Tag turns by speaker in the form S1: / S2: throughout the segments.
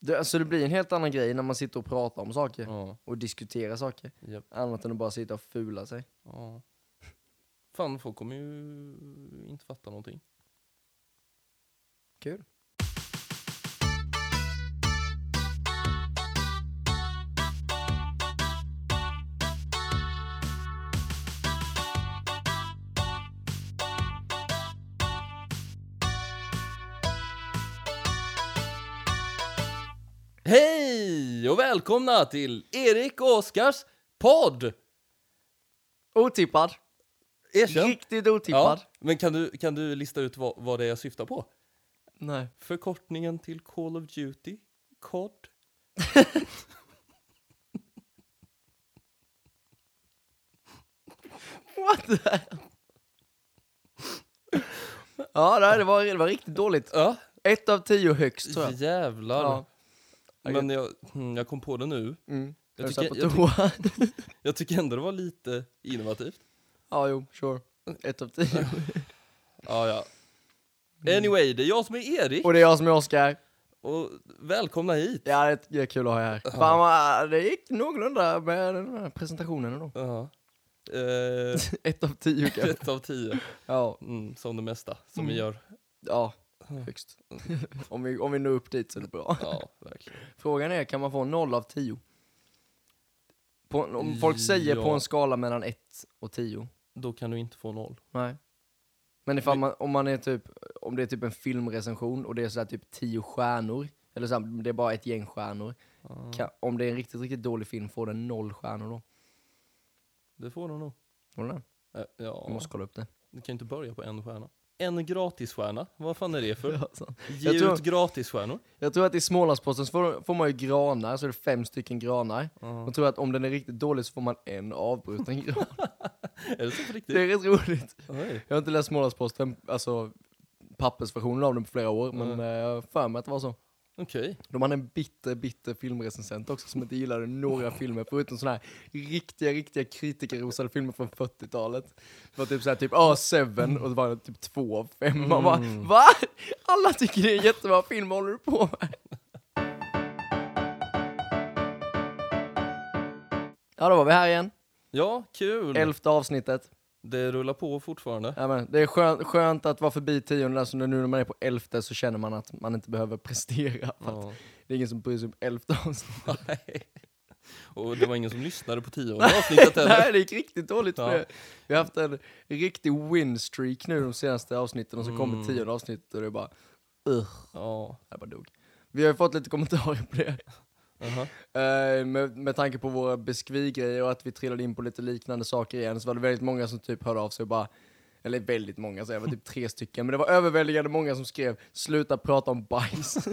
S1: Det, alltså det blir en helt annan grej när man sitter och pratar om saker
S2: Ja.
S1: och diskuterar saker.
S2: Japp.
S1: Annat än att bara sitta och fula sig.
S2: ja. Fan, folk kommer ju inte fatta någonting.
S1: Kul.
S2: Hej och välkomna till Erik och Oskars podd!
S1: Otippad.
S2: Erkänn.
S1: Riktigt otippad.
S2: men kan du, kan du lista ut vad, vad det är jag syftar på?
S1: Nej.
S2: Förkortningen till Call of Duty, COD.
S1: What the Ja, nej, det, var, det var riktigt dåligt.
S2: Ja,
S1: Ett av tio högst tror jag.
S2: jävlar.
S1: Ja.
S2: Men jag, mm, jag kom på det nu.
S1: Mm.
S2: Jag
S1: Jag tycker,
S2: tycker-
S1: på toa.
S2: Jag tycker ändå det var lite innovativt.
S1: ja, jo, sure. Ett av tio.
S2: Ja, ja. Anyway, det är jag som är Erik
S1: och det är jag som är Oscar.
S2: och välkomna hit.
S1: Ja, det är- det är kul att ha er här. Fan, vad, det gick någorlunda med den här presentationen ändå.
S2: Ja. Eh,
S1: Ett av tio kanske.
S2: ett av tio,
S1: Ja,
S2: mm, som det mesta som vi
S1: Mm.
S2: gör.
S1: ja, högst. om, vi, om vi når upp dit så är det bra.
S2: Ja, verkligen.
S1: Frågan är, kan man få noll av tio? På, om folk säger på
S2: Ja.
S1: en skala mellan ett och tio.
S2: Då kan du inte få noll.
S1: Nej. Men ifall man, om, man är typ, om det är typ en filmrecension och det är sådär typ tio stjärnor, eller så här, det är bara ett gäng stjärnor. Kan, om det är en riktigt, riktigt dålig film får den noll stjärnor då.
S2: Det får du nog.
S1: Får den det?
S2: Eh,
S1: Jag
S2: ja,
S1: måste kolla upp det.
S2: du kan ju inte börja på en stjärna. En gratisstjärna, vad fan är det för?
S1: Ja, sant.
S2: Ge
S1: Jag tror-
S2: ut gratisstjärnor.
S1: Jag tror att i Smålandsposten så får, får man ju granar, så är det fem stycken granar. Jag tror att om den är riktigt dålig så får man en avbruten gran.
S2: Är det så på riktigt?
S1: Det är rätt roligt.
S2: Oj.
S1: Jag har inte läst Smålandsposten, alltså pappersversionen av den på flera år, men eh, jag har för mig att det var så.
S2: Okej.
S1: De hade en bitter, bitter filmrecensent också som inte gillade några filmer förutom sådana här riktiga, riktiga kritikerrosade filmer från 40-talet. Det var typ såhär, typ ah, Seven och det var typ två av fem. Man bara, va? Alla tycker det är en jättebra film, vad håller du på med? Ja, då var vi här igen.
S2: Ja, kul.
S1: Elfte avsnittet.
S2: det rullar på fortfarande.
S1: Ja, men det är skönt, skönt att vara förbi tionde, alltså nu när man är på elfte så känner man att man inte behöver prestera. För att
S2: Ja.
S1: Det är ingen som bryr sig om elfte avsnittet.
S2: Nej. Och det var ingen som lyssnade på tionde avsnittet heller.
S1: Nej, det gick riktigt dåligt för
S2: Ja.
S1: det. Vi har haft en riktig win-streak nu de senaste avsnitten och så kommer
S2: Mm.
S1: tionde avsnittet och det är bara Ugh,
S2: Ja.
S1: jag bara dog. Vi har ju fått lite kommentarer på det.
S2: aha.
S1: Eh, med, med tanke på våra beskvigrejer och att vi trillade in på lite liknande saker igen så var det väldigt många som typ hörde av sig och bara eller väldigt många, så det var typ tre stycken, men det var överväldigande många som skrev “sluta prata om bajs”.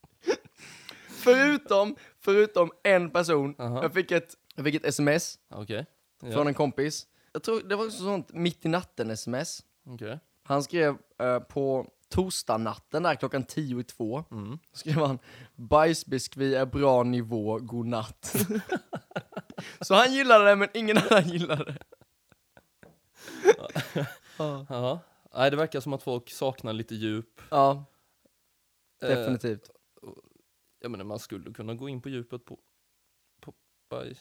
S1: förutom, förutom en person.
S2: Aha.
S1: Jag, fick ett, jag fick ett sms
S2: Okej.
S1: från
S2: Ja.
S1: en kompis. Jag tror det var också sånt mitt i natten sms.
S2: Okej.
S1: Han skrev eh, på torsdagnatten där klockan 10 i två.
S2: Mm.
S1: skrev han bajsbiskvi är bra nivå, godnatt. Så han gillade det men ingen annan gillade det. Ja.
S2: Ja. Nej, det verkar som att folk saknar lite djup.
S1: Ja,
S2: Eh,
S1: definitivt.
S2: Jag menar, man skulle kunna gå in på djupet på, på bajs.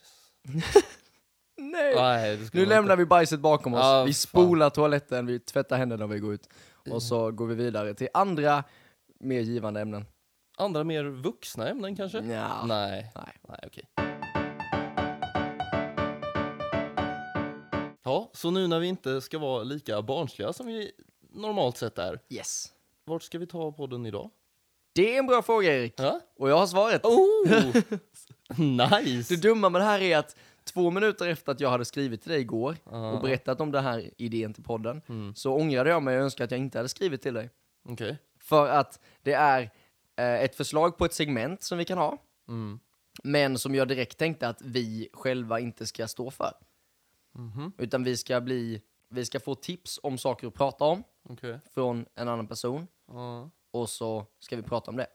S1: Nej.
S2: Nej, det skulle
S1: Nu
S2: man
S1: lämnar vi bajset bakom oss.
S2: Ja,
S1: vi
S2: fan.
S1: spolar toaletten, vi tvättar händerna och vi går ut. Och så går vi vidare till andra mer givande ämnen.
S2: inte. Andra mer vuxna ämnen kanske?
S1: Nja.
S2: Nej.
S1: Nej.
S2: Nej, okej. Ja, så nu när vi inte ska vara lika barnsliga som vi normalt sett är,
S1: Yes.
S2: vart ska vi ta podden idag?
S1: Det är en bra fråga Erik.
S2: Ja?
S1: Och jag har svaret.
S2: Oh! nice!
S1: Det dumma med det här är att två minuter efter att jag hade skrivit till dig igår
S2: Ah.
S1: och berättat om den här idén till podden
S2: Mm.
S1: så ångrade jag mig och önskade att jag inte hade skrivit till dig.
S2: Okej.
S1: För att det är eh, ett förslag på ett segment som vi kan ha
S2: Mm.
S1: men som jag direkt tänkte att vi själva inte ska stå för.
S2: Mhm.
S1: Utan vi ska, bli, vi ska få tips om saker att prata om
S2: Okej.
S1: från en annan person
S2: Ja.
S1: och så ska vi prata om det.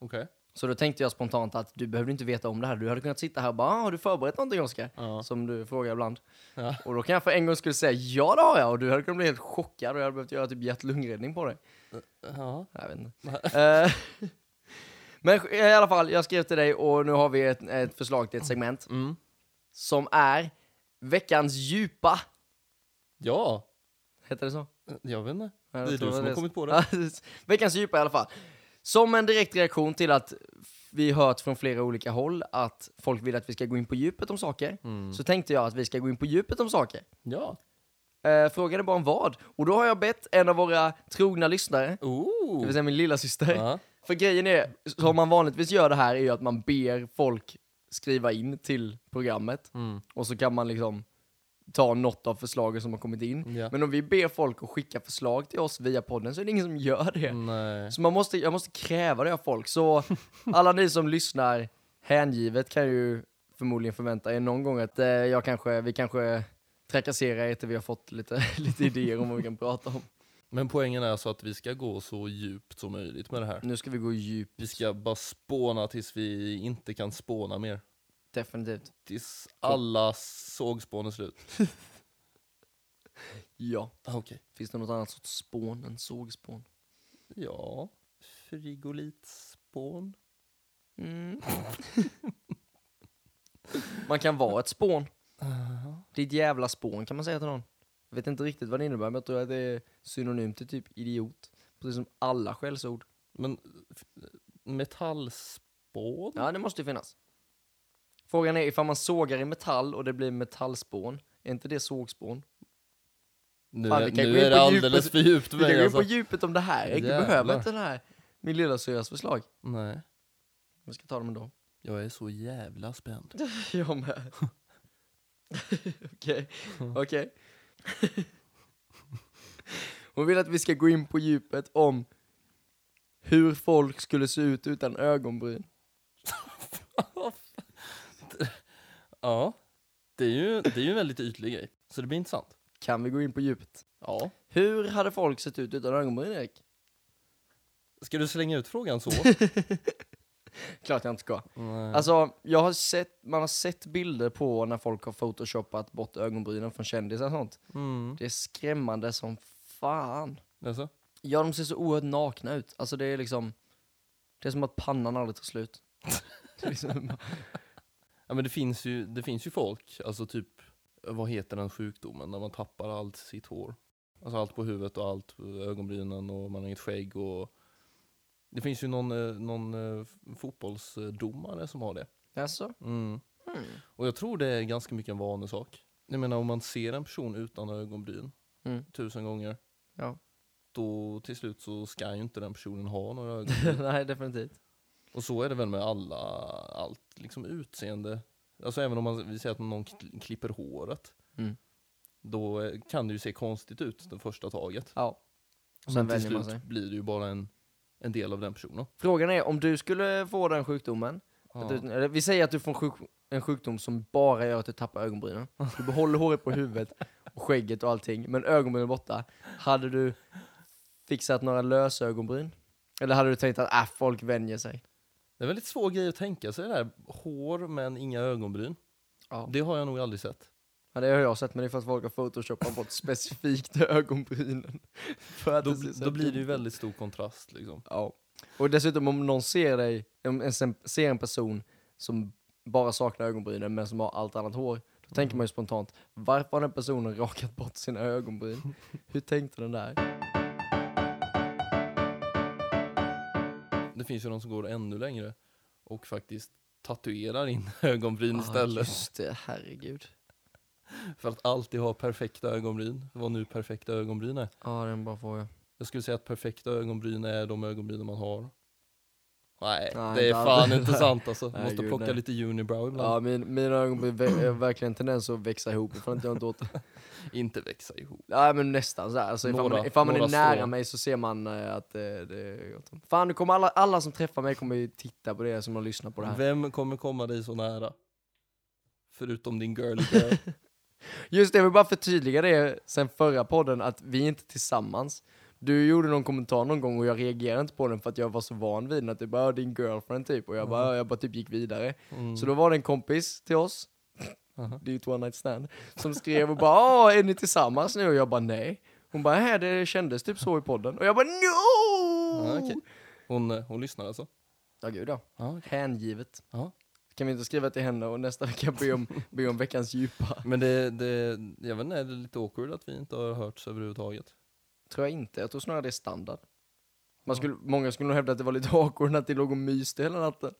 S2: Okej.
S1: Så då tänkte jag spontant att du behövde inte veta om det här. Du hade kunnat sitta här och bara, ah, har du förberett någonting Oskar?
S2: Ja.
S1: Som du frågar ibland.
S2: Ja.
S1: Och då kan jag för en gång skulle säga, ja det har jag. Och du hade kunnat bli helt chockad och jag hade behövt göra typ hjärt-lungräddning på dig.
S2: Ja.
S1: Jag vet inte. Eh, Men i alla fall, jag skrev till dig och nu har vi ett, ett förslag till ett segment
S2: Mm.
S1: som är veckans djupa.
S2: Ja,
S1: Heter det så?
S2: jag vet inte.
S1: Ja,
S2: Det
S1: jag
S2: är Ah. du
S1: tror
S2: som har kommit på det.
S1: Ja, veckans djupa i alla fall. Som en direkt reaktion till att vi hört från flera olika håll att folk vill att vi ska gå in på djupet om saker,
S2: Mm.
S1: så tänkte jag att vi ska gå in på djupet om saker.
S2: Ja.
S1: Eh, frågan är bara om vad. Och då har jag bett en av våra trogna lyssnare, det
S2: Ooh.
S1: vill säga min lilla syster.
S2: Ja.
S1: För grejen är, som man vanligtvis gör det här, är ju att man ber folk skriva in till programmet.
S2: Mm.
S1: Och så kan man liksom ta något av förslagen som har kommit in.
S2: Ja.
S1: Men om vi ber folk att skicka förslag till oss via podden så är det ingen som gör det.
S2: Nej.
S1: Så man måste, jag måste kräva det av folk. Så alla ni som lyssnar hängivet kan ju förmodligen förvänta er någon gång att eh, jag kanske, vi kanske trakasserar er till vi har fått lite, lite idéer om vad vi kan prata om.
S2: Men poängen är alltså att vi ska gå så djupt som möjligt med det här.
S1: Nu ska vi gå djupt,
S2: Vi ska bara spåna tills vi inte kan spåna mer.
S1: definitivt.
S2: Tills alla sågspån är slut.
S1: Ja.
S2: Ah, Okej.
S1: Finns det något annat sorts spån än sågspån?
S2: Ja, frigolitspån.
S1: Man kan vara ett spån. Ditt jävla spån kan man säga till någon. Jag vet inte riktigt vad det innebär, men jag tror att det är synonymt till typ idiot. Precis som alla skällsord.
S2: Men f- metallspån?
S1: Ja, det måste ju finnas. Frågan är ifall man sågar i metall och det blir metallspån. Är inte det sågspån?
S2: Nu,
S1: Fan,
S2: är-
S1: vi kan
S2: nu
S1: gå in
S2: är
S1: på
S2: det alldeles
S1: djupet.
S2: för djupt för
S1: Vi kan
S2: mig
S1: gå in på
S2: alltså.
S1: djupet om det här. Jag
S2: Jävlar.
S1: behöver inte den här. Min lilla syrras förslag.
S2: Nej,
S1: Vi ska ta dem ändå.
S2: jag är så jävla spänd.
S1: Jag med. Okej, okej. Hon vill att vi ska gå in på djupet om hur folk skulle se ut utan ögonbryn.
S2: Ja, det är ju, det är ju en väldigt ytlig grej. Så det blir intressant.
S1: Kan vi gå in på djupet?
S2: Ja.
S1: Hur hade folk sett ut utan ögonbryn, Erik?
S2: Ska du slänga ut frågan så?
S1: Klart jag inte ska.
S2: Nej.
S1: Alltså, jag har sett, man har sett bilder på när folk har photoshopat bort ögonbrynen från kändisar och sånt.
S2: Mm.
S1: Det är skrämmande som fan.
S2: Alltså?
S1: Ja, de ser så oerhört nakna ut. Alltså det är liksom... Det är som att pannan aldrig tar slut. Det är liksom-
S2: Ja, men det finns ju, det finns ju folk, alltså typ, vad heter den sjukdomen, när man tappar allt sitt hår? Alltså allt på huvudet och allt, på ögonbrynen och man har inget skägg och... Det finns ju någon, eh, någon eh, fotbollsdomare som har det.
S1: Jaså?
S2: Mm.
S1: Hmm.
S2: Och jag tror det är ganska mycket en vanesak. Jag menar om man ser en person utan ögonbryn
S1: Mm.
S2: tusen gånger,
S1: Ja.
S2: då till slut så ska ju inte den personen ha några ögonbryn.
S1: Nej, definitivt.
S2: Och så är det väl med alla, allt liksom utseende. Alltså även om man, vi säger att någon kl- klipper håret,
S1: Mm.
S2: då eh, kan det ju se konstigt ut det första taget.
S1: Ja. Och sen
S2: Men till
S1: vänjer man
S2: slut
S1: sig.
S2: blir det ju bara en, en del av den personen.
S1: Frågan är, om du skulle få den sjukdomen,
S2: Ja.
S1: att du, eller vi säger att du får en, sjuk, en sjukdom som bara gör att du tappar ögonbrynen. Du behåller håret på huvudet, och skägget och allting, men ögonbrynen är borta. Hade du fixat några lösögonbryn? Eller hade du tänkt att äh, folk vänjer sig?
S2: Det är en väldigt svår grej att tänka sig det där. Hår men inga ögonbryn.
S1: Ja.
S2: Det har jag nog aldrig sett.
S1: Ja, det har jag sett, men det är för att folk har photoshopat bort specifikt ögonbrynen. För att
S2: Då,
S1: det ser så
S2: då blir det ju
S1: dumt ut.
S2: väldigt stor kontrast liksom.
S1: Ja. Och dessutom om någon ser dig, om en, sen- ser en person som bara saknar ögonbrynen men som har allt annat hår, då tänker man ju spontant, varför har den personen rakat bort sina ögonbryn? Hur tänkte den där?
S2: Det finns ju de som går ännu längre och faktiskt tatuerar in ögonbryn
S1: Ah,
S2: istället.
S1: just det, herregud.
S2: För att alltid ha perfekta ögonbryn. Vad nu perfekta ögonbryn är.
S1: Ja, det är en bra fråga.
S2: Jag skulle säga att perfekta ögonbryn är de ögonbrynen man har. Nej,
S1: Nej,
S2: det är
S1: inte
S2: fan
S1: alltid.
S2: inte sant alltså.
S1: Nej,
S2: Måste
S1: gud,
S2: plocka
S1: nej.
S2: lite unibrow ibland.
S1: Ja, min, mina ögonbryn vä- har verkligen tendens att växa ihop ifall inte jag inte åt det.
S2: Inte växa ihop.
S1: Nej men nästan sådär, alltså, ifall,
S2: Några-
S1: man, ifall man är
S2: några
S1: nära
S2: strån.
S1: mig så ser man eh, att eh, det är gott om. Fan, nu kommer alla, alla som träffar mig kommer ju titta på det som de lyssnar på det här.
S2: Vem kommer komma dig så nära? Förutom din girl girl.
S1: Just det, jag vill bara förtydliga det sen förra podden att vi är inte tillsammans. Du gjorde någon kommentar någon gång och jag reagerade inte på den för att jag var så van vid den. Att du bara, "Ja, din girlfriend typ. Och jag bara, "Ja", jag bara typ gick vidare.
S2: Mm.
S1: Så då var det en kompis till oss,
S2: Aha.
S1: det är ju ett one night stand, som skrev och bara, "Ja, är ni tillsammans nu? Och jag bara, nej. Hon bara, "Hä, det kändes typ så i podden. Och jag bara, no!
S2: Ja, okej. hon, eh, hon lyssnar alltså?
S1: Ja, gud ja.
S2: Ja,
S1: Hängivet.
S2: Ja.
S1: Kan vi inte skriva till henne och nästa vecka be om, be om veckans djupa?
S2: Men det, det, jag vet inte, är det lite awkward att vi inte har hörts överhuvudtaget?
S1: Tror jag inte. Jag tror snarare det är standard. Man skulle, Många skulle nog hävda att det var lite awkward att det låg och myste hela natten.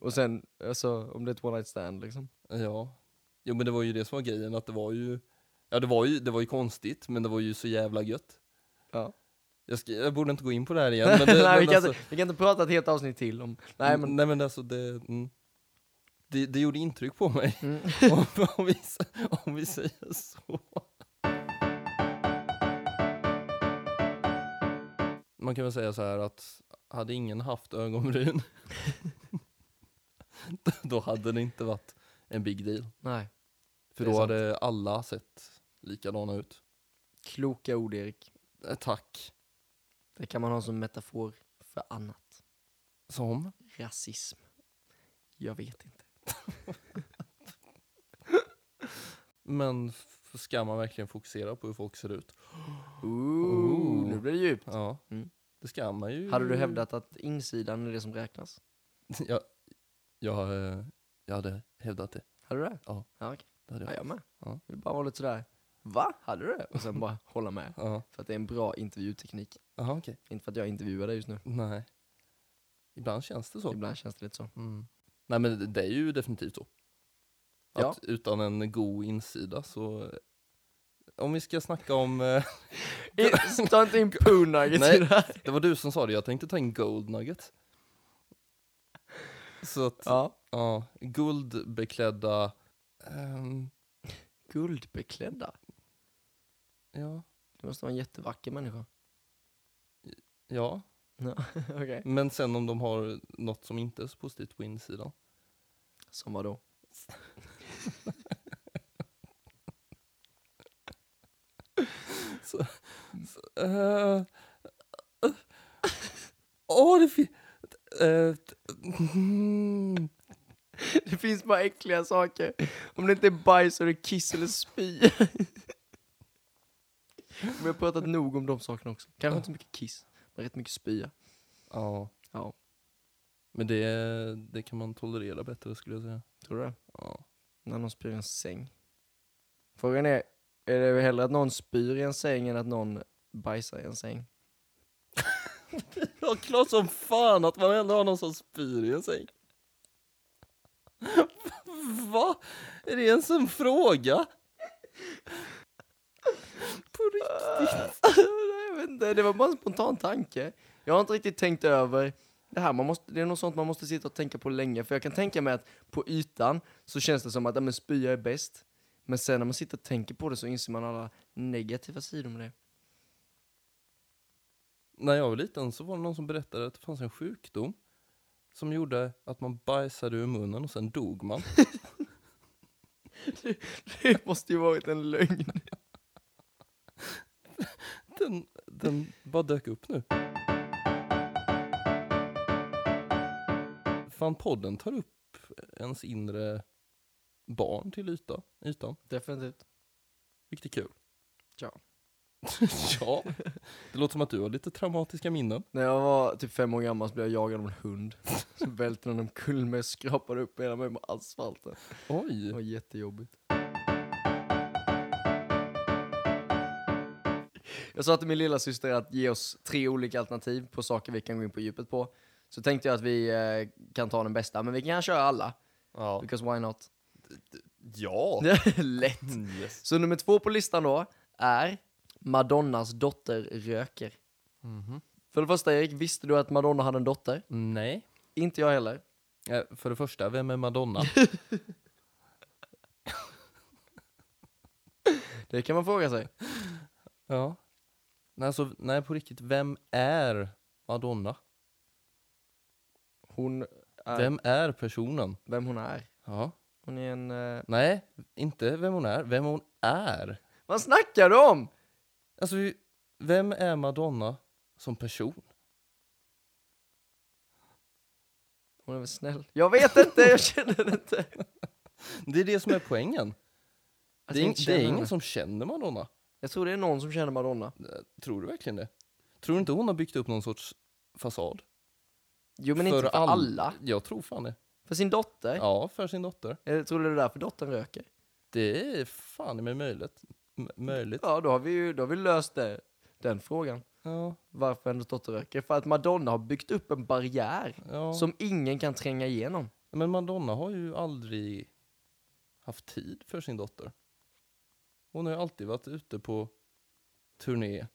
S1: Och sen, alltså om det är ett one night stand liksom.
S2: Ja. Jo men det var ju det som var grejen, att det var ju, ja det var ju, det var ju konstigt, men det var ju så jävla gött.
S1: Ja.
S2: Jag, ska, jag borde inte gå in på det här igen, men det,
S1: nej, vi,
S2: men
S1: kan
S2: alltså,
S1: inte, vi kan inte prata ett helt avsnitt till om... Nej men...
S2: nej men alltså det, mm, det, det gjorde intryck på mig,
S1: Mm.
S2: om, om, vi, s- om vi säger så. Man kan väl säga så här att, hade ingen haft ögonbryn, då hade det inte varit en big deal.
S1: Nej.
S2: För
S1: Det är
S2: då
S1: sant.
S2: hade alla sett likadana ut.
S1: Kloka ord Erik.
S2: Eh, Tack.
S1: Det kan man ha som metafor för annat.
S2: Som?
S1: Rasism. Jag vet inte.
S2: Men f- ska man verkligen fokusera på hur folk ser ut?
S1: Ooh, nu blir det djupt.
S2: Ja,
S1: Mm.
S2: det ska man ju.
S1: Hade du hävdat att insidan är det som räknas?
S2: Jag, jag, eh, jag hade hävdat det.
S1: Hade du det?
S2: Ja.
S1: Ja, okej.
S2: det hade
S1: ja
S2: jag.
S1: jag med.
S2: Ja.
S1: Vill bara vara lite sådär, va? Hade du det? Och sen bara hålla med.
S2: Ja.
S1: För att det är en bra intervjuteknik.
S2: Jaha, okej.
S1: Inte för att jag intervjuar dig just nu.
S2: Nej. Ibland känns det så.
S1: Ibland känns det lite så.
S2: Mm. Nej, men det- det är ju definitivt så. Att
S1: Ja.
S2: utan en god insida så... eh, Om vi ska snacka om... eh,
S1: I- Ta inte in poo nuggets i
S2: Nej.
S1: det här.
S2: Det var du som sa det, jag tänkte ta en gold nugget. Så att...
S1: Ja.
S2: Ja, guldbeklädda... ehm,
S1: Guldbeklädda.
S2: ja,
S1: Du måste vara en jättevacker människa.
S2: ja,
S1: Ja, Okej.
S2: men sen om de har något som inte är så positivt på insidan.
S1: Som vadå?
S2: Eh, eh, Åh, det finns... øh, mm,
S1: Det finns bara äckliga saker. Om det inte är bajs så är det kiss eller spy. Men Vi har pratat nog om de sakerna också. Kanske inte så mycket kiss, men rätt mycket spya.
S2: ja,
S1: Ja,
S2: men det, det kan man tolerera bättre skulle jag säga.
S1: tror du det?
S2: Ja.
S1: När någon spyr i en säng. Frågan är, är det hellre att någon spyr i en säng än att någon bajsar i en säng?
S2: Ja, klart som fan att man ändå har någon som spyr i en säng. Va? Är det ens en fråga? På riktigt?
S1: Nej, jag vet inte, det var bara en spontan tanke. Jag har inte riktigt tänkt över det här. Man måste, det är något sånt man måste sitta och tänka på länge. För jag kan tänka mig att på ytan så känns det som att ja, men spya är bäst. Men sen när man sitter och tänker på det så inser man alla negativa sidor med det.
S2: När jag var liten så var det någon som berättade att det fanns en sjukdom som gjorde att man bajsade ur munnen och sen dog man.
S1: Det måste ju varit en lögn.
S2: Den, den bara dök upp nu. Fan, podden tar upp ens inre barn till yta, ytan.
S1: Definitivt.
S2: Vilket är kul.
S1: Ja.
S2: ja. Det låter som att du har lite traumatiska minnen.
S1: När jag var typ fem år gammal så blev jag jagad av en hund. Så välte den omkull mig och skrapade upp hela mig med asfalten. Det
S2: Oj.
S1: var jättejobbigt. Jag sa till min lilla syster att ge oss tre olika alternativ på saker vi kan gå in på djupet på. Så tänkte jag att vi eh, kan ta den bästa, men vi kan köra alla.
S2: Ja.
S1: Because why not?
S2: Ja.
S1: Lätt.
S2: Mm, Yes.
S1: Så nummer två på listan då är Madonnas dotter röker. För det första Erik, visste du att Madonna hade en dotter?
S2: Nej.
S1: Inte jag heller.
S2: Eh, För det första, vem är Madonna?
S1: Det kan man fråga sig.
S2: ja. Nej, alltså, nej, på riktigt, vem är Madonna?
S1: Hon är vem,
S2: Vem är personen?
S1: hon är.
S2: Ja.
S1: Hon är en... Eh...
S2: Nej, inte vem hon är, vem hon är.
S1: Vad snackar du om?
S2: Alltså, vi- vem är Madonna som person?
S1: Hon är väl snäll? Jag vet inte, jag känner det inte.
S2: Det är det som är poängen. Det
S1: Alltså,
S2: är,
S1: jag
S2: ing-
S1: inte
S2: det är
S1: känner
S2: ingen
S1: henne.
S2: som känner Madonna. Eh,
S1: Jag tror det är någon som känner Madonna.
S2: Tror du verkligen det? Tror du inte hon har byggt upp någon sorts fasad?
S1: Jo men inte för
S2: all-
S1: alla.
S2: Jag tror fan det.
S1: För sin dotter?
S2: Ja, för sin dotter.
S1: Eller tror du det är därför dottern röker?
S2: Det är fan i mig möjligt. M- möjligt.
S1: Ja, då har vi ju då har vi löst det, den frågan.
S2: Ja,
S1: Varför hennes dotter röker? För att Madonna har byggt upp en barriär
S2: ja.
S1: som ingen kan tränga igenom.
S2: Men Madonna har ju aldrig haft tid för sin dotter. Hon har ju alltid varit ute på turné.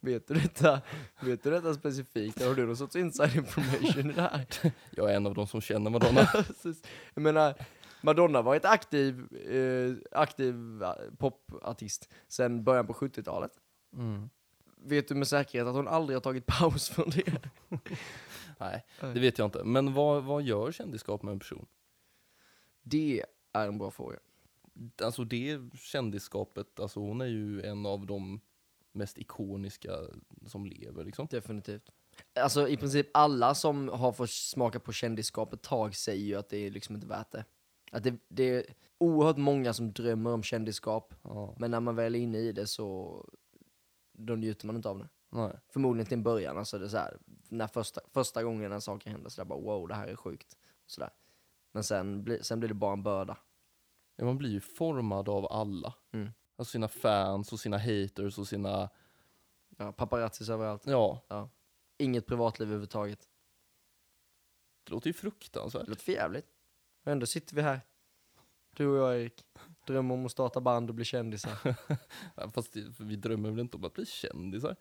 S1: Vet du detta, vet du detta specifikt? Har du någon sorts inside information i det här?
S2: Jag är en av de som känner Madonna.
S1: Precis. Jag menar, Madonna var ett aktiv, eh, aktiv eh, popartist sedan början på 70-talet.
S2: Mm.
S1: Vet du med säkerhet att hon aldrig har tagit paus från det?
S2: Nej,
S1: Nej.
S2: det vet jag inte. Men vad, vad gör kändisskap med en person?
S1: Det är en bra fråga.
S2: Alltså det kändisskapet, alltså hon är ju en av de mest ikoniska som lever liksom.
S1: Definitivt. Alltså i princip alla som har fått smaka på kändisskap ett tag säger ju att det är liksom inte värt det. Att det, det är oerhört många som drömmer om kändisskap,
S2: Ja,
S1: men när man väl är inne i det så då njuter man inte av det.
S2: nej.
S1: Förmodligen till en början, alltså det är så här, när första, första gången när saker händer så där bara wow, det här är sjukt. Så där. Men sen, bli, sen blir det bara en börda.
S2: Ja, man blir ju formad av alla.
S1: Mm.
S2: Alltså sina fans och sina haters och sina,
S1: Ja, paparazzis överallt.
S2: ja,
S1: Inget privatliv överhuvudtaget.
S2: det låter ju
S1: Det
S2: fruktansvärt.
S1: låter för jävligt. Och ändå sitter vi här. Du och jag Erik. Drömmer om att starta band och bli kändisar.
S2: Ja, Fast det, för vi drömmer väl inte om att bli kändisar?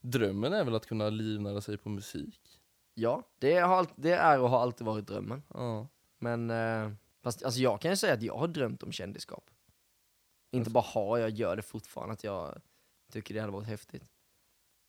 S2: Drömmen är väl att kunna livnära sig på musik?
S1: ja, det, har, allt- det är och har alltid varit drömmen.
S2: Ja.
S1: Men eh, fast, alltså jag kan ju säga att jag har drömt om kändisskap. Inte bara har, jag gör det fortfarande. Att jag tycker det hade varit häftigt.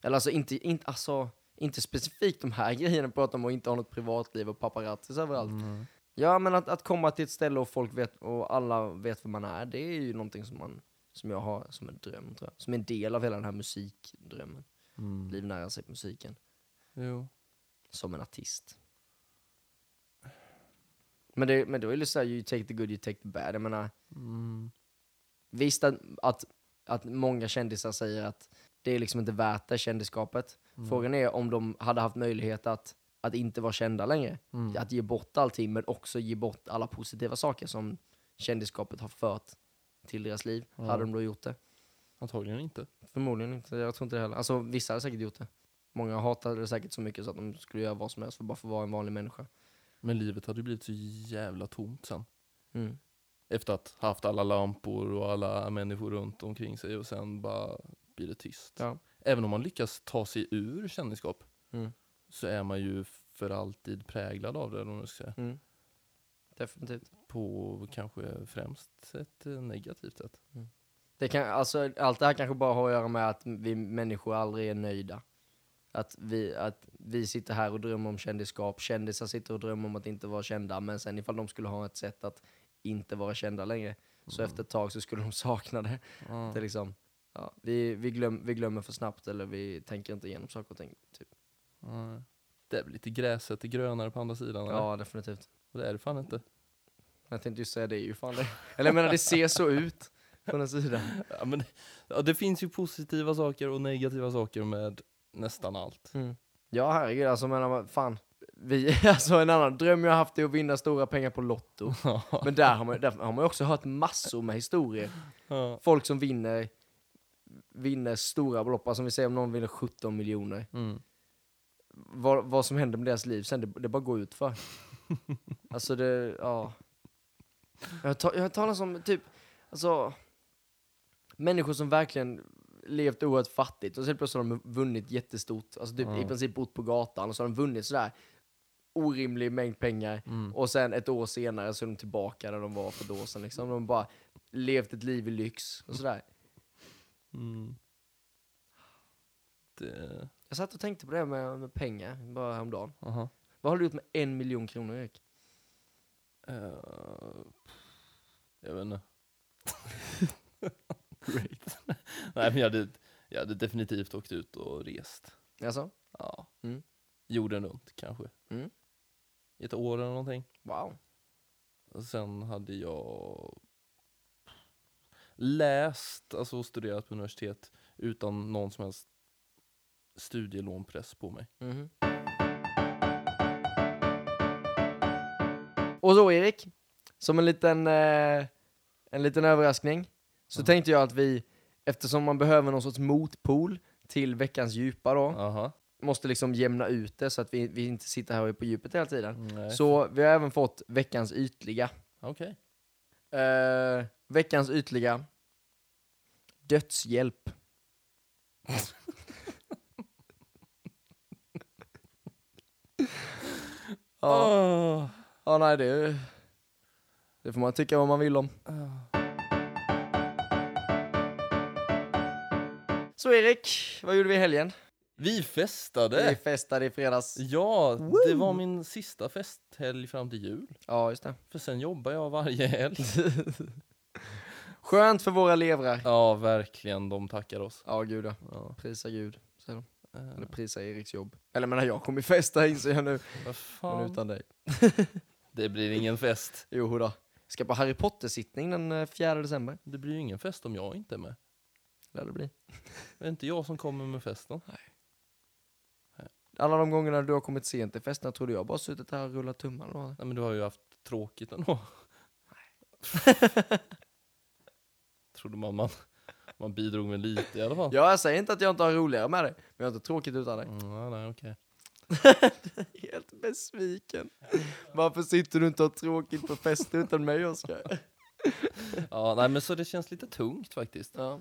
S1: Eller alltså inte, inte, alltså, inte specifikt de här grejerna, prata om att inte ha något privatliv och paparazzis överallt.
S2: Mm.
S1: Ja, men att, att komma till ett ställe och folk vet och alla vet vem man är, det är ju någonting som, man, som jag har som en dröm, tror jag. Som en del av hela den här musikdrömmen.
S2: Mm.
S1: Livnära sig på musiken.
S2: Jo.
S1: Som en artist. Men, det, men då är det så här, you take the good, you take the bad. Jag menar,
S2: Mm.
S1: visst att, att, att många kändisar säger att det är liksom inte värt det, kändisskapet.
S2: Mm.
S1: Frågan är om de hade haft möjlighet att, att inte vara kända längre.
S2: Mm.
S1: Att ge bort allting men också ge bort alla positiva saker som kändisskapet har fört till deras liv.
S2: Ja.
S1: Hade de då gjort det?
S2: Antagligen inte.
S1: Förmodligen inte. Jag tror inte det heller. Alltså vissa hade säkert gjort det. Många hatade det säkert så mycket så att de skulle göra vad som helst för bara få vara en vanlig människa.
S2: Men livet hade ju blivit så jävla tomt sen.
S1: Mm.
S2: Efter att ha haft alla lampor och alla människor runt omkring sig och sen bara blir det tyst.
S1: Ja.
S2: Även om man lyckas ta sig ur kändisskap
S1: Mm.
S2: så är man ju för alltid präglad av det, om man ska säga.
S1: Mm. Definitivt.
S2: På kanske främst ett eh, negativt sätt.
S1: Det kan, alltså, allt det här kanske bara har att göra med att vi människor aldrig är nöjda. Att vi, att vi sitter här och drömmer om kändisskap, kändisar sitter och drömmer om att inte vara kända, men sen ifall de skulle ha ett sätt att inte vara kända längre, så efter ett tag så skulle de sakna det.
S2: Ja.
S1: det är liksom, ja, vi, vi, glöm, vi glömmer för snabbt eller vi tänker inte igenom saker och ting. Typ.
S2: Nej. Det är väl lite gräset är grönare på andra sidan? eller?
S1: Ja, definitivt.
S2: Och det är det fan inte.
S1: Jag tänkte just säga det är ju fan det. Eller jag menar, det ser så ut på den sidan.
S2: Ja, men, ja, det finns ju positiva saker och negativa saker med nästan allt.
S1: Ja, herregud, alltså menar man, fan. Vi, alltså en annan dröm jag haft är att vinna stora pengar på Lotto. Men där har man, där har man ju också hört massor med historier.
S2: Ja.
S1: Folk som vinner, vinner stora belopp, alltså om vi säger om någon vinner 17 miljoner.
S2: Mm.
S1: Vad, vad som händer med deras liv sen, det, det bara går ut för. Alltså det, ja. Jag har ta- jag har hört talas om typ, alltså, människor som verkligen levt oerhört fattigt och så helt plötsligt har de vunnit jättestort, alltså typ
S2: Ja.
S1: i princip bott på gatan och så har de vunnit sådär orimlig mängd pengar
S2: Mm.
S1: och sen ett år senare så är de tillbaka där de var för ett år sedan liksom. De har bara levt ett liv i lyx och sådär.
S2: Mm. Det,
S1: Jag satt och tänkte på det med, med pengar bara häromdagen.
S2: aha.
S1: Vad har du gjort med en miljon kronor Erik?
S2: Eh, jag vet inte. Great. Nej, men jag hade, jag hade definitivt åkt ut och rest.
S1: Alltså?
S2: Ja.
S1: Mm.
S2: Jorden runt kanske.
S1: Mm.
S2: I ett år eller någonting.
S1: Wow.
S2: Och sen hade jag läst, alltså studerat på universitet utan Mhm. någon som helst studielånpress på mig.
S1: Mhm. Och så Erik, som en liten, eh, en liten överraskning, så
S2: Ja.
S1: tänkte jag att vi, eftersom man behöver någon sorts motpol till veckans djupa då,
S2: Aha.
S1: måste liksom jämna ut det så att vi, vi inte sitter här och är på djupet hela tiden.
S2: Nej.
S1: Så vi har även fått veckans ytliga.
S2: Okej.
S1: Eh, veckans ytliga. Dödshjälp. ja,
S2: Åh.
S1: ja, nej det, det får man tycka vad man vill om.
S2: Ah.
S1: Så Erik, vad gjorde vi i helgen?
S2: Vi
S1: Vi
S2: festade!
S1: festade i fredags.
S2: Ja, det
S1: Woo!
S2: var min sista festhelg fram till jul.
S1: Ja, just det.
S2: För sen jobbar jag varje helg.
S1: Skönt för våra levrar.
S2: Ja, verkligen. De tackar oss.
S1: Ja, gud ja.
S2: Ja.
S1: Prisa Gud. säger de.
S2: Eh,
S1: Eller prisa Eriks jobb. Eller menar jag kommer festa inser jag nu.
S2: vad
S1: Men
S2: fan.
S1: utan dig.
S2: Det blir ingen fest.
S1: Jo då. Ska på Harry Potter-sittning den eh, 4 december.
S2: Det blir ju ingen fest om jag inte är med.
S1: Lär det bli.
S2: Det är inte jag som kommer med festen.
S1: Alla de gångerna du har kommit sent till festerna trodde jag bara suttit här och rullat tummarna. och-
S2: Nej, men du har ju haft tråkigt ändå. Trodde mamman. Man bidrog med lite i alla fall.
S1: Ja, jag säger inte att jag inte har roligare med dig, men jag har inte tråkigt utan dig.
S2: Mm, nej, nej, okej.
S1: Helt besviken. Varför sitter du inte och har tråkigt på fest utan mig, Oskar?
S2: Ja, nej, men så det känns lite tungt faktiskt.
S1: Ja.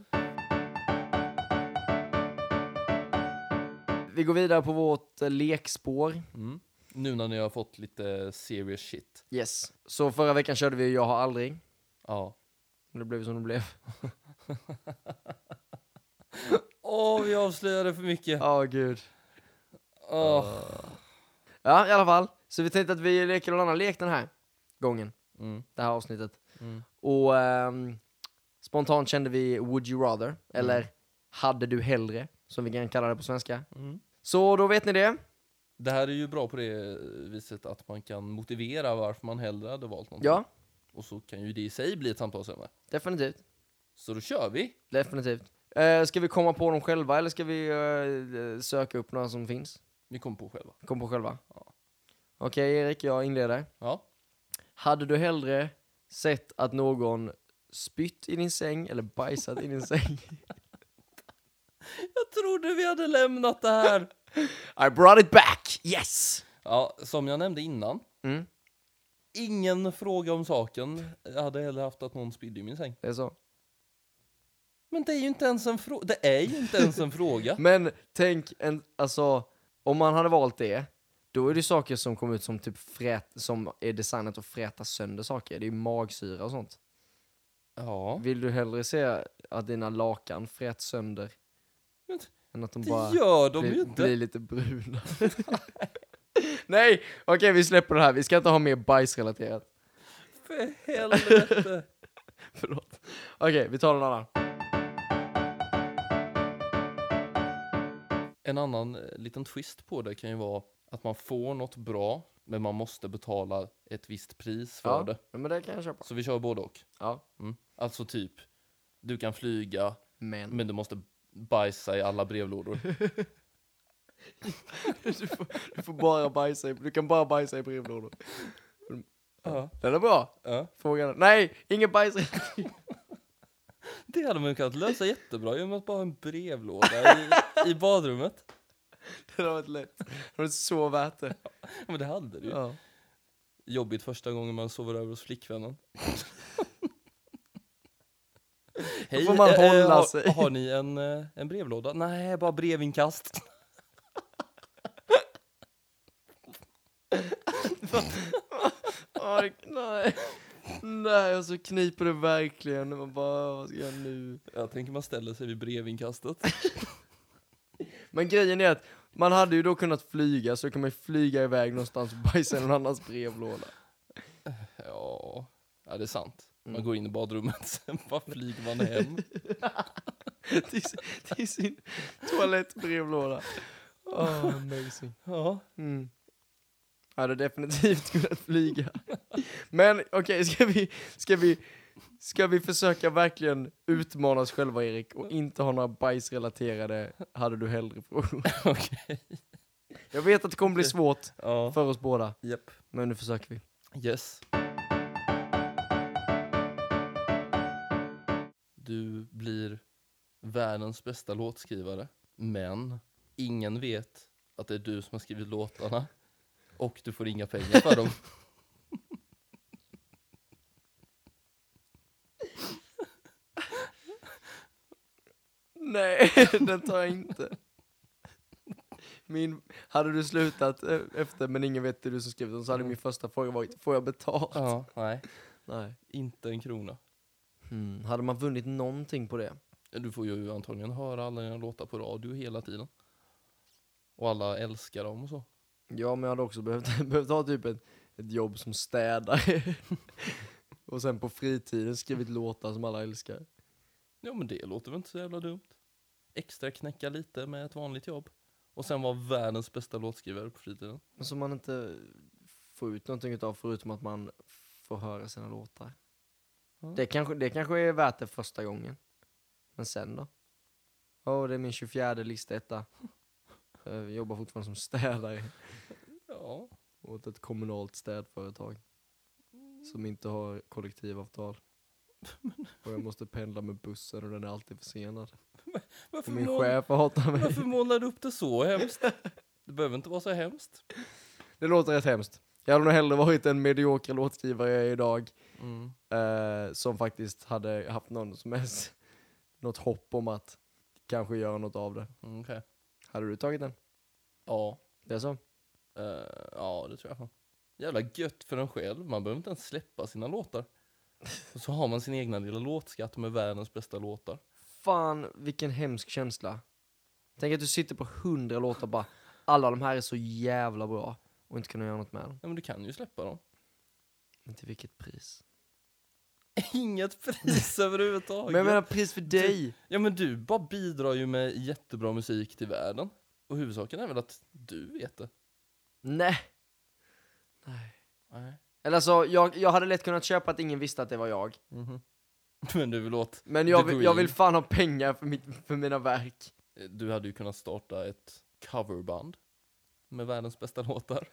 S1: Vi går vidare på vårt eh, lekspår.
S2: Mm. Nu när ni har fått lite serious shit.
S1: Yes. Så förra veckan körde vi Jag har aldrig.
S2: Ja.
S1: Men Det blev som det blev.
S2: Åh, vi avslöjade för mycket.
S1: Ja, gud.
S2: Åh.
S1: Ja, i alla fall. Så vi tänkte att vi leker någon annan lek den här gången,
S2: Mm,
S1: det här avsnittet.
S2: mm.
S1: Och ehm, spontant kände vi Would you rather, eller Hade du hellre, som vi kan kalla det på svenska.
S2: Mm.
S1: Så då vet ni det.
S2: Det här är ju bra på det viset att man kan motivera varför man hellre hade valt någonting.
S1: Ja,
S2: Och så kan ju det i sig bli ett samtalsämne.
S1: definitivt.
S2: Så då kör vi!
S1: Definitivt. Eh, ska vi komma på dem själva eller ska vi eh, söka upp några som finns?
S2: Vi kom på själva.
S1: Kom på själva.
S2: Ja.
S1: Okej Erik, jag inleder.
S2: Ja.
S1: Hade du hellre sett att någon spytt i din säng eller bajsat i din säng?
S2: Jag trodde vi hade lämnat det här!
S1: I brought it back! Yes!
S2: Ja, som jag nämnde innan.
S1: Mm,
S2: Ingen fråga om saken. Jag hade hellre haft att någon spydde i min säng.
S1: det är så.
S2: Men det är ju inte ens en fråga. Det är ju inte ens en fråga.
S1: Men tänk, en, alltså, om man hade valt det, då är det ju saker som kommer ut som typ frät, som är designat att fräta sönder saker. Det är ju magsyra och sånt.
S2: Ja,
S1: Vill du hellre se att dina lakan fräts sönder?
S2: Men
S1: Än att de
S2: det
S1: bara
S2: gör de ju
S1: blir,
S2: inte.
S1: blir lite bruna? Nej, okej vi släpper det här. Vi ska inte ha mer bajsrelaterat.
S2: För helvete.
S1: Förlåt. Okej, vi tar någon annan.
S2: En annan eh, liten twist på det kan ju vara att man får något bra, men man måste betala ett visst pris för
S1: Ja.
S2: det.
S1: Ja, men det kan jag köpa.
S2: Så vi kör både och.
S1: Ja.
S2: Mm. Alltså typ, du kan flyga,
S1: Men.
S2: men du måste bajsa i alla brevlådor.
S1: Du får, du får bara bajsa i, du kan bara bajsa i brevlådor.
S2: ja.
S1: Den är bra.
S2: Ja.
S1: Frågan Nej, ingen bajs.
S2: Det hade man ju kunnat lösa jättebra genom att bara ha en brevlåda i, i badrummet.
S1: Det har varit lätt. Det är så värt det.
S2: Men det hade du ju.
S1: Ja.
S2: Jobbigt första gången man sover över hos flickvännen. Hej,
S1: får man
S2: eh, eh,
S1: hålla
S2: har,
S1: sig.
S2: Har ni en, eh, en brevlåda? Nej, bara brevinkast.
S1: Åh, nej. Nej, och så kniper det verkligen. Man bara, vad ska jag göra nu?
S2: Jag tänker man ställer sig vid brevinkastet.
S1: Men grejen är att man hade ju då kunnat flyga, så kan man ju flyga iväg någonstans och bajsa i någon annans brevlåda.
S2: Ja, ja det är sant. Man
S1: Mm.
S2: går in i badrummet, sen bara flyger man hem.
S1: Till, sin- till sin toalettbrevlåda. Åh, amazing.
S2: Ja.
S1: Mm. Jag hade definitivt kunnat flyga. Men okej, ska, vi, ska, vi, ska vi försöka verkligen utmana oss själva, Erik, och inte ha några bajsrelaterade hade du hellre-frågor?
S2: Okej.
S1: Jag vet att det kommer bli svårt
S2: Ja.
S1: för oss båda,
S2: Japp.
S1: men nu försöker vi.
S2: Yes. Du blir världens bästa låtskrivare, men ingen vet att det är du som har skrivit låtarna och du får inga pengar för dem.
S1: Nej, den tar jag inte. Min, hade du slutat eh, efter men ingen vet det är du som skrivit den så hade min första fråga varit, får jag betalt?
S2: Ja, nej,
S1: Nej.
S2: inte en krona.
S1: Hmm. Hade man vunnit någonting på det?
S2: Du får ju antagligen höra alla dina låtar på radio hela tiden. Och alla älskar dem och så.
S1: Ja, men jag hade också behövt, behövt ha typ ett, ett jobb som städare. Och sen på fritiden skrivit låtar som alla älskar.
S2: Ja men det låter väl inte så jävla dumt. Extra knäcka lite med ett vanligt jobb. Och sen vara världens bästa låtskrivare på fritiden.
S1: Men som man inte får ut någonting utav förutom att man får höra sina låtar.
S2: Ja.
S1: Det, kanske, det kanske är värt det första gången. Men sen då? Åh, det är min 24 listetta. Jag jobbar fortfarande som städare
S2: Ja.
S1: åt ett kommunalt städföretag.
S2: Mm.
S1: Som inte har kollektivavtal. Och jag måste pendla med bussen och den är alltid försenad.
S2: Varför,
S1: Och min
S2: mål,
S1: chef hatar mig.
S2: varför målar du upp det så hemskt? Det behöver inte vara så hemskt.
S1: Det låter rätt hemskt. Jag hade nog hellre varit en medioker låtskrivare jag är idag.
S2: Mm.
S1: eh, som faktiskt hade haft någon som helst, något hopp om att kanske göra något av det.
S2: Okej.
S1: Hade du tagit den?
S2: Ja.
S1: Det är så?
S2: Eh, ja, det tror jag fan. Jävla gött för en själv. Man behöver inte ens släppa sina låtar. Och så har man sin egna lilla låtskatt med världens bästa låtar.
S1: Fan vilken hemsk känsla. Tänk att du sitter på hundra låtar och bara, alla de här är så jävla bra och inte kunna göra något med dem.
S2: Ja, men du kan ju släppa dem.
S1: Men till vilket pris?
S2: Inget pris överhuvudtaget.
S1: Men jag menar pris för dig!
S2: Ja men du bara bidrar ju med jättebra musik till världen. Och huvudsaken är väl att du vet det?
S1: Nej!
S2: Nej.
S1: Eller alltså, jag, jag hade lätt kunnat köpa att ingen visste att det var jag.
S2: Mm-hmm. Men du vill åt,
S1: Men jag,
S2: The
S1: vill- jag
S2: Green.
S1: vill fan ha pengar för, mitt, för mina verk.
S2: Eh, du hade ju kunnat starta ett coverband med världens bästa låtar.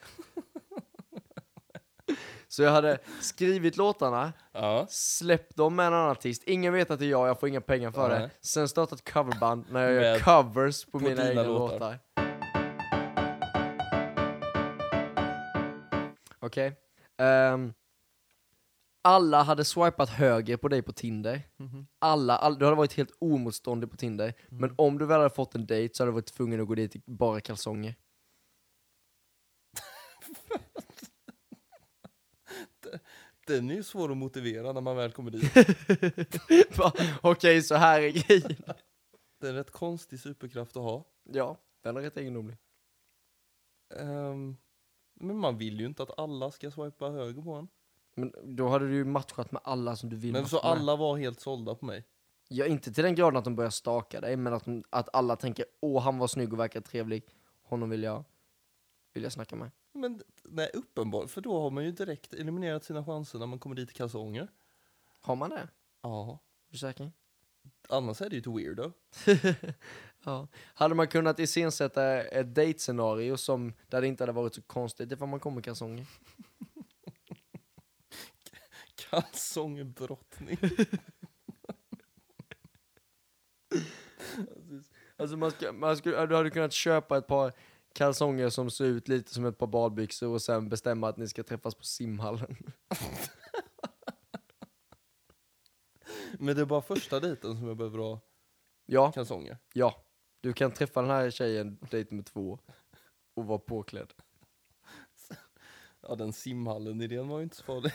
S1: Så jag hade skrivit låtarna,
S2: Ja.
S1: Släpp dem med en annan artist, ingen vet att det är jag, jag får inga pengar för
S2: Nej.
S1: det. Sen startat coverband när jag gör
S2: Med-
S1: covers på,
S2: på
S1: mina
S2: dina
S1: egna låtar.
S2: låtar.
S1: Okej. Ehm, alla hade swipat höger på dig på Tinder. Alla, all, du hade varit helt omotståndlig på Tinder.
S2: Mm.
S1: Men om du väl hade fått en dejt så hade du varit tvungen att gå dit i bara kalsonger.
S2: Den är ju svår att motivera när man väl kommer dit.
S1: Bara, Okej, så här är grejen.
S2: Det är en rätt konstig superkraft att ha.
S1: Ja, den är rätt egendomlig.
S2: Ehm, men man vill ju inte att alla ska swipa höger på en.
S1: Men då hade du ju matchat med alla som du vill
S2: Men
S1: matcha
S2: så
S1: med.
S2: alla var helt sålda på mig.
S1: Ja, inte till den graden att de börjar staka dig, men att, de, att alla tänker åh, han var snygg och verkar trevlig, honom vill jag, vill jag snacka med.
S2: Men nej, uppenbart. För då har man ju direkt eliminerat sina chanser när man kommer dit i kalsonger.
S1: Har man det? Är
S2: Ja.
S1: du säker?
S2: Annars är det ju ett weirdo.
S1: Ja. Hade man kunnat iscensätta ett dejtscenario som, där det inte hade varit så konstigt ifall man kom i kalsonger?
S2: Kalsongbrottning.
S1: Alltså man ska, man skulle, du hade kunnat köpa ett par kalsonger som ser ut lite som ett par badbyxor och sen bestämma att ni ska träffas på simhallen.
S2: Men det är bara första dejten som jag behöver ha
S1: Ja,
S2: kalsonger.
S1: ja. Du kan träffa den här tjejen, dejt nummer två, och vara påklädd.
S2: Ja, den simhallen-idén var ju inte så farlig.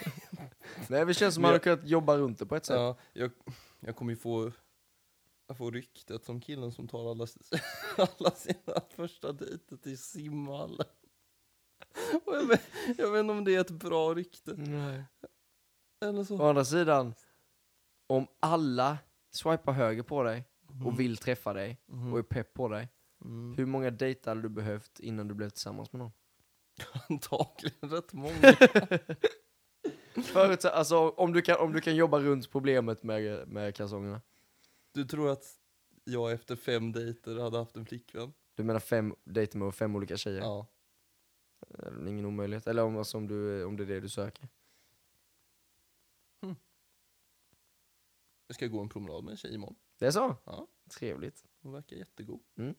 S1: Nej, det känns som man hade kunnat jobba runt det på ett sätt.
S2: Ja, jag, jag kommer ju få, jag får ryktet som killen som tar alla, s- alla sina första dejter till simhallen. Och jag, vet, jag vet inte om det är ett bra rykte.
S1: Nej.
S2: Eller
S1: Å
S2: så.
S1: andra sidan, om alla swipar höger på dig och vill träffa dig och är pepp på dig,
S2: Mm.
S1: hur många dejter hade du behövt innan du blev tillsammans med någon?
S2: Antagligen rätt många.
S1: Förut, alltså, om, du kan, om du kan jobba runt problemet med, med kalsongerna.
S2: Du tror att jag efter fem dejter hade haft en flickvän?
S1: Du menar fem dejter med fem olika tjejer?
S2: Ja.
S1: Det är väl ingen omöjlighet. Eller om, alltså, om, du, om det är det du söker.
S2: Jag ska gå en promenad med en tjej imorgon.
S1: Det är så?
S2: Ja.
S1: Trevligt.
S2: Hon verkar jättegod.
S1: Mm.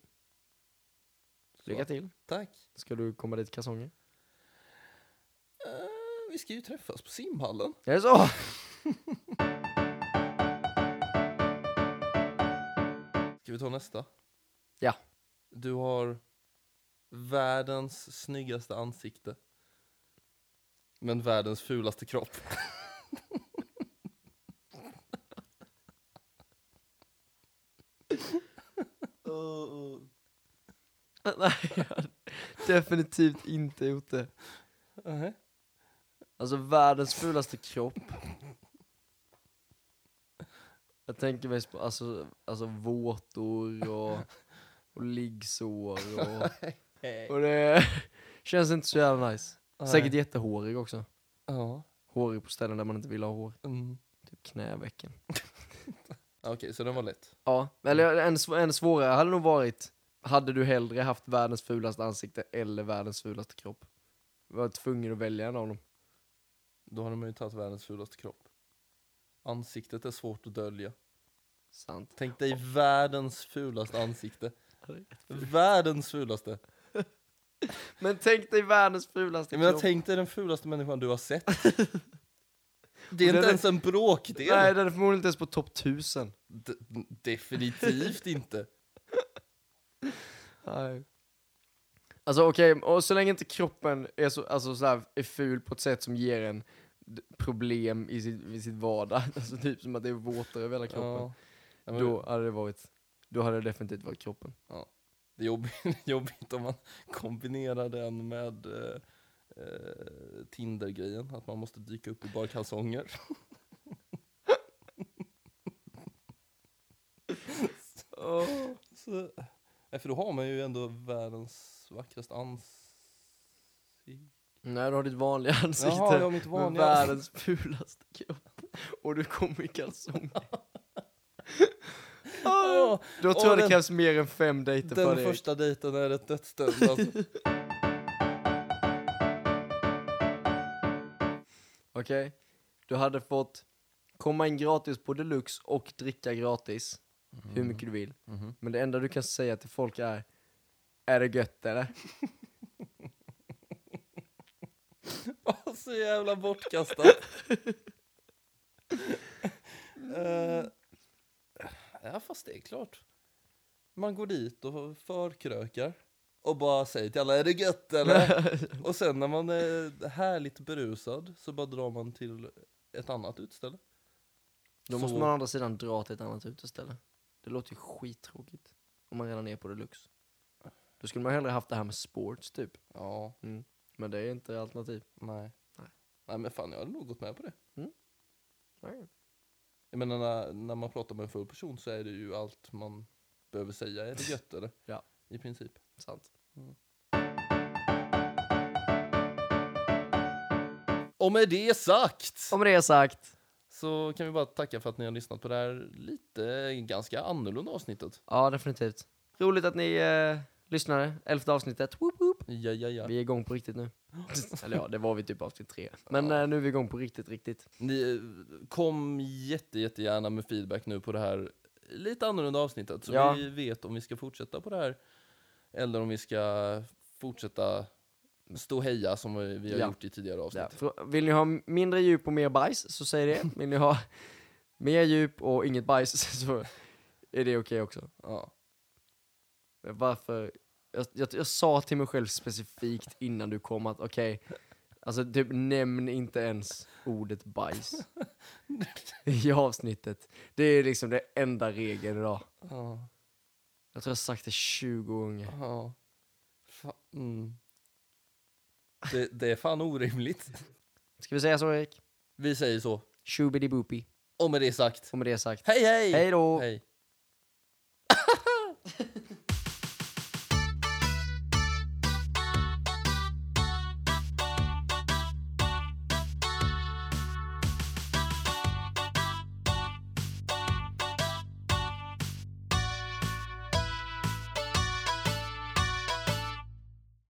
S2: Så,
S1: Lycka till.
S2: Tack.
S1: Ska du komma dit i kalsonger?
S2: Eh, vi ska ju träffas på simhallen.
S1: Är det så?
S2: Ska vi ta nästa?
S1: Ja.
S2: Du har världens snyggaste ansikte. Men världens fulaste kropp.
S1: Nej, jag har definitivt inte gjort det.
S2: Nej.
S1: Alltså världens fulaste kropp. Jag tänker mest på alltså, alltså våtor och, och liggsår och, och det känns inte så jävla nice. Säkert jättehårig också.
S2: Ja.
S1: Hårig på ställen där man inte vill ha hår.
S2: Mm.
S1: Typ knävecken.
S2: Okej, så den var lätt.
S1: Ja, eller en, sv- en svårare hade nog varit, hade du hellre haft världens fulaste ansikte eller världens fulaste kropp? Var tvungen att välja en av dem.
S2: Då hade man ju tagit världens fulaste kropp. Ansiktet är svårt att dölja.
S1: Sant.
S2: Tänk dig världens fulaste ansikte. Världens fulaste.
S1: Men tänk dig världens fulaste
S2: Jag menar,
S1: kropp.
S2: tänk dig den fulaste människan du har sett. Det
S1: Den
S2: är inte
S1: är-
S2: ens en bråkdel.
S1: Nej, den är förmodligen inte ens på topp 1000.
S2: D- definitivt inte.
S1: Nej. Alltså okej, och så länge inte kroppen är, så, alltså, så här, är ful på ett sätt som ger en d- problem i sitt, i sitt vardag, alltså typ som att det är våtare över hela kroppen,
S2: Ja. Ja, men
S1: då hade det varit, då hade det definitivt varit kroppen.
S2: Det är jobbigt, jobbigt om man kombinerar den med eh, eh, Tinder-grejen, att man måste dyka upp i bara kalsonger. Så, nej, för då har man ju ändå världens vackraste ansikte.
S1: Nej, du har ditt vanliga ansikte.
S2: Jaha, jag har mitt
S1: Men
S2: vanliga.
S1: världens fulaste kropp. Och du kommer i kalsonger. Ah,
S2: Åh,
S1: Då tror
S2: Åh,
S1: jag det
S2: den-
S1: krävs mer än fem dejter för
S2: den
S1: det.
S2: första dejten är ett dödsdömd. Alltså.
S1: Okej? Du hade fått komma in gratis på Deluxe och dricka gratis. Hur mycket du vill.
S2: Mhm.
S1: Men det enda du kan säga till folk är Är det gött eller?
S2: Åh, Så jävla bortkastat. Eh, ja, fast det är klart. Man går dit och förkrökar och bara säger till alla, är det gött eller? och sen när man är härligt berusad så bara drar man till ett annat utställe.
S1: Då
S2: Så-
S1: måste man å andra sidan dra till ett annat uteställe. Det låter ju skittråkigt. Om man redan är på Deluxe. Då skulle man hellre haft det här med sports typ.
S2: Ja,
S1: Men det är inte alternativ.
S2: nej.
S1: Nej.
S2: Nej, men fan, jag hade nog gått med på det.
S1: Nej.
S2: Jag menar, när, när man pratar med en full person så är det ju allt man behöver säga, är det gött eller?
S1: Ja.
S2: I princip. Mm.
S1: Sant.
S2: Och med det sagt!
S1: Om det är sagt.
S2: så kan vi bara tacka för att ni har lyssnat på det här lite ganska annorlunda avsnittet.
S1: Ja, definitivt. Roligt att ni eh, lyssnade. Elfte avsnittet. Woop, woop.
S2: Ja, ja, ja.
S1: Vi är igång på riktigt nu. Eller ja, det var vi typ avsnitt tre. Men eh, nu är vi igång på riktigt, riktigt.
S2: Ni eh, kom jätte, jättegärna med feedback nu på det här lite annorlunda avsnittet så
S1: Ja.
S2: vi vet om vi ska fortsätta på det här eller om vi ska fortsätta stå och heja som vi, vi har
S1: Ja.
S2: gjort i tidigare avsnitt.
S1: Där. För- Vill ni ha mindre djup och mer bajs så säg det. Vill ni ha mer djup och inget bajs så är det okej också.
S2: Ja.
S1: Varför? Jag, jag, jag sa till mig själv specifikt innan du kom att okej, alltså typ nämn inte ens ordet bajs i avsnittet. Det är liksom det enda regeln idag.
S2: Ja.
S1: Jag tror jag har sagt det 20 gånger.
S2: Ja. Fa- mm. det, det är fan orimligt.
S1: Ska vi säga så Erik?
S2: Vi säger så.
S1: Shubidi-boopi.
S2: Och med det sagt,
S1: Och med det sagt,
S2: hej hej!
S1: hej då!
S2: hej.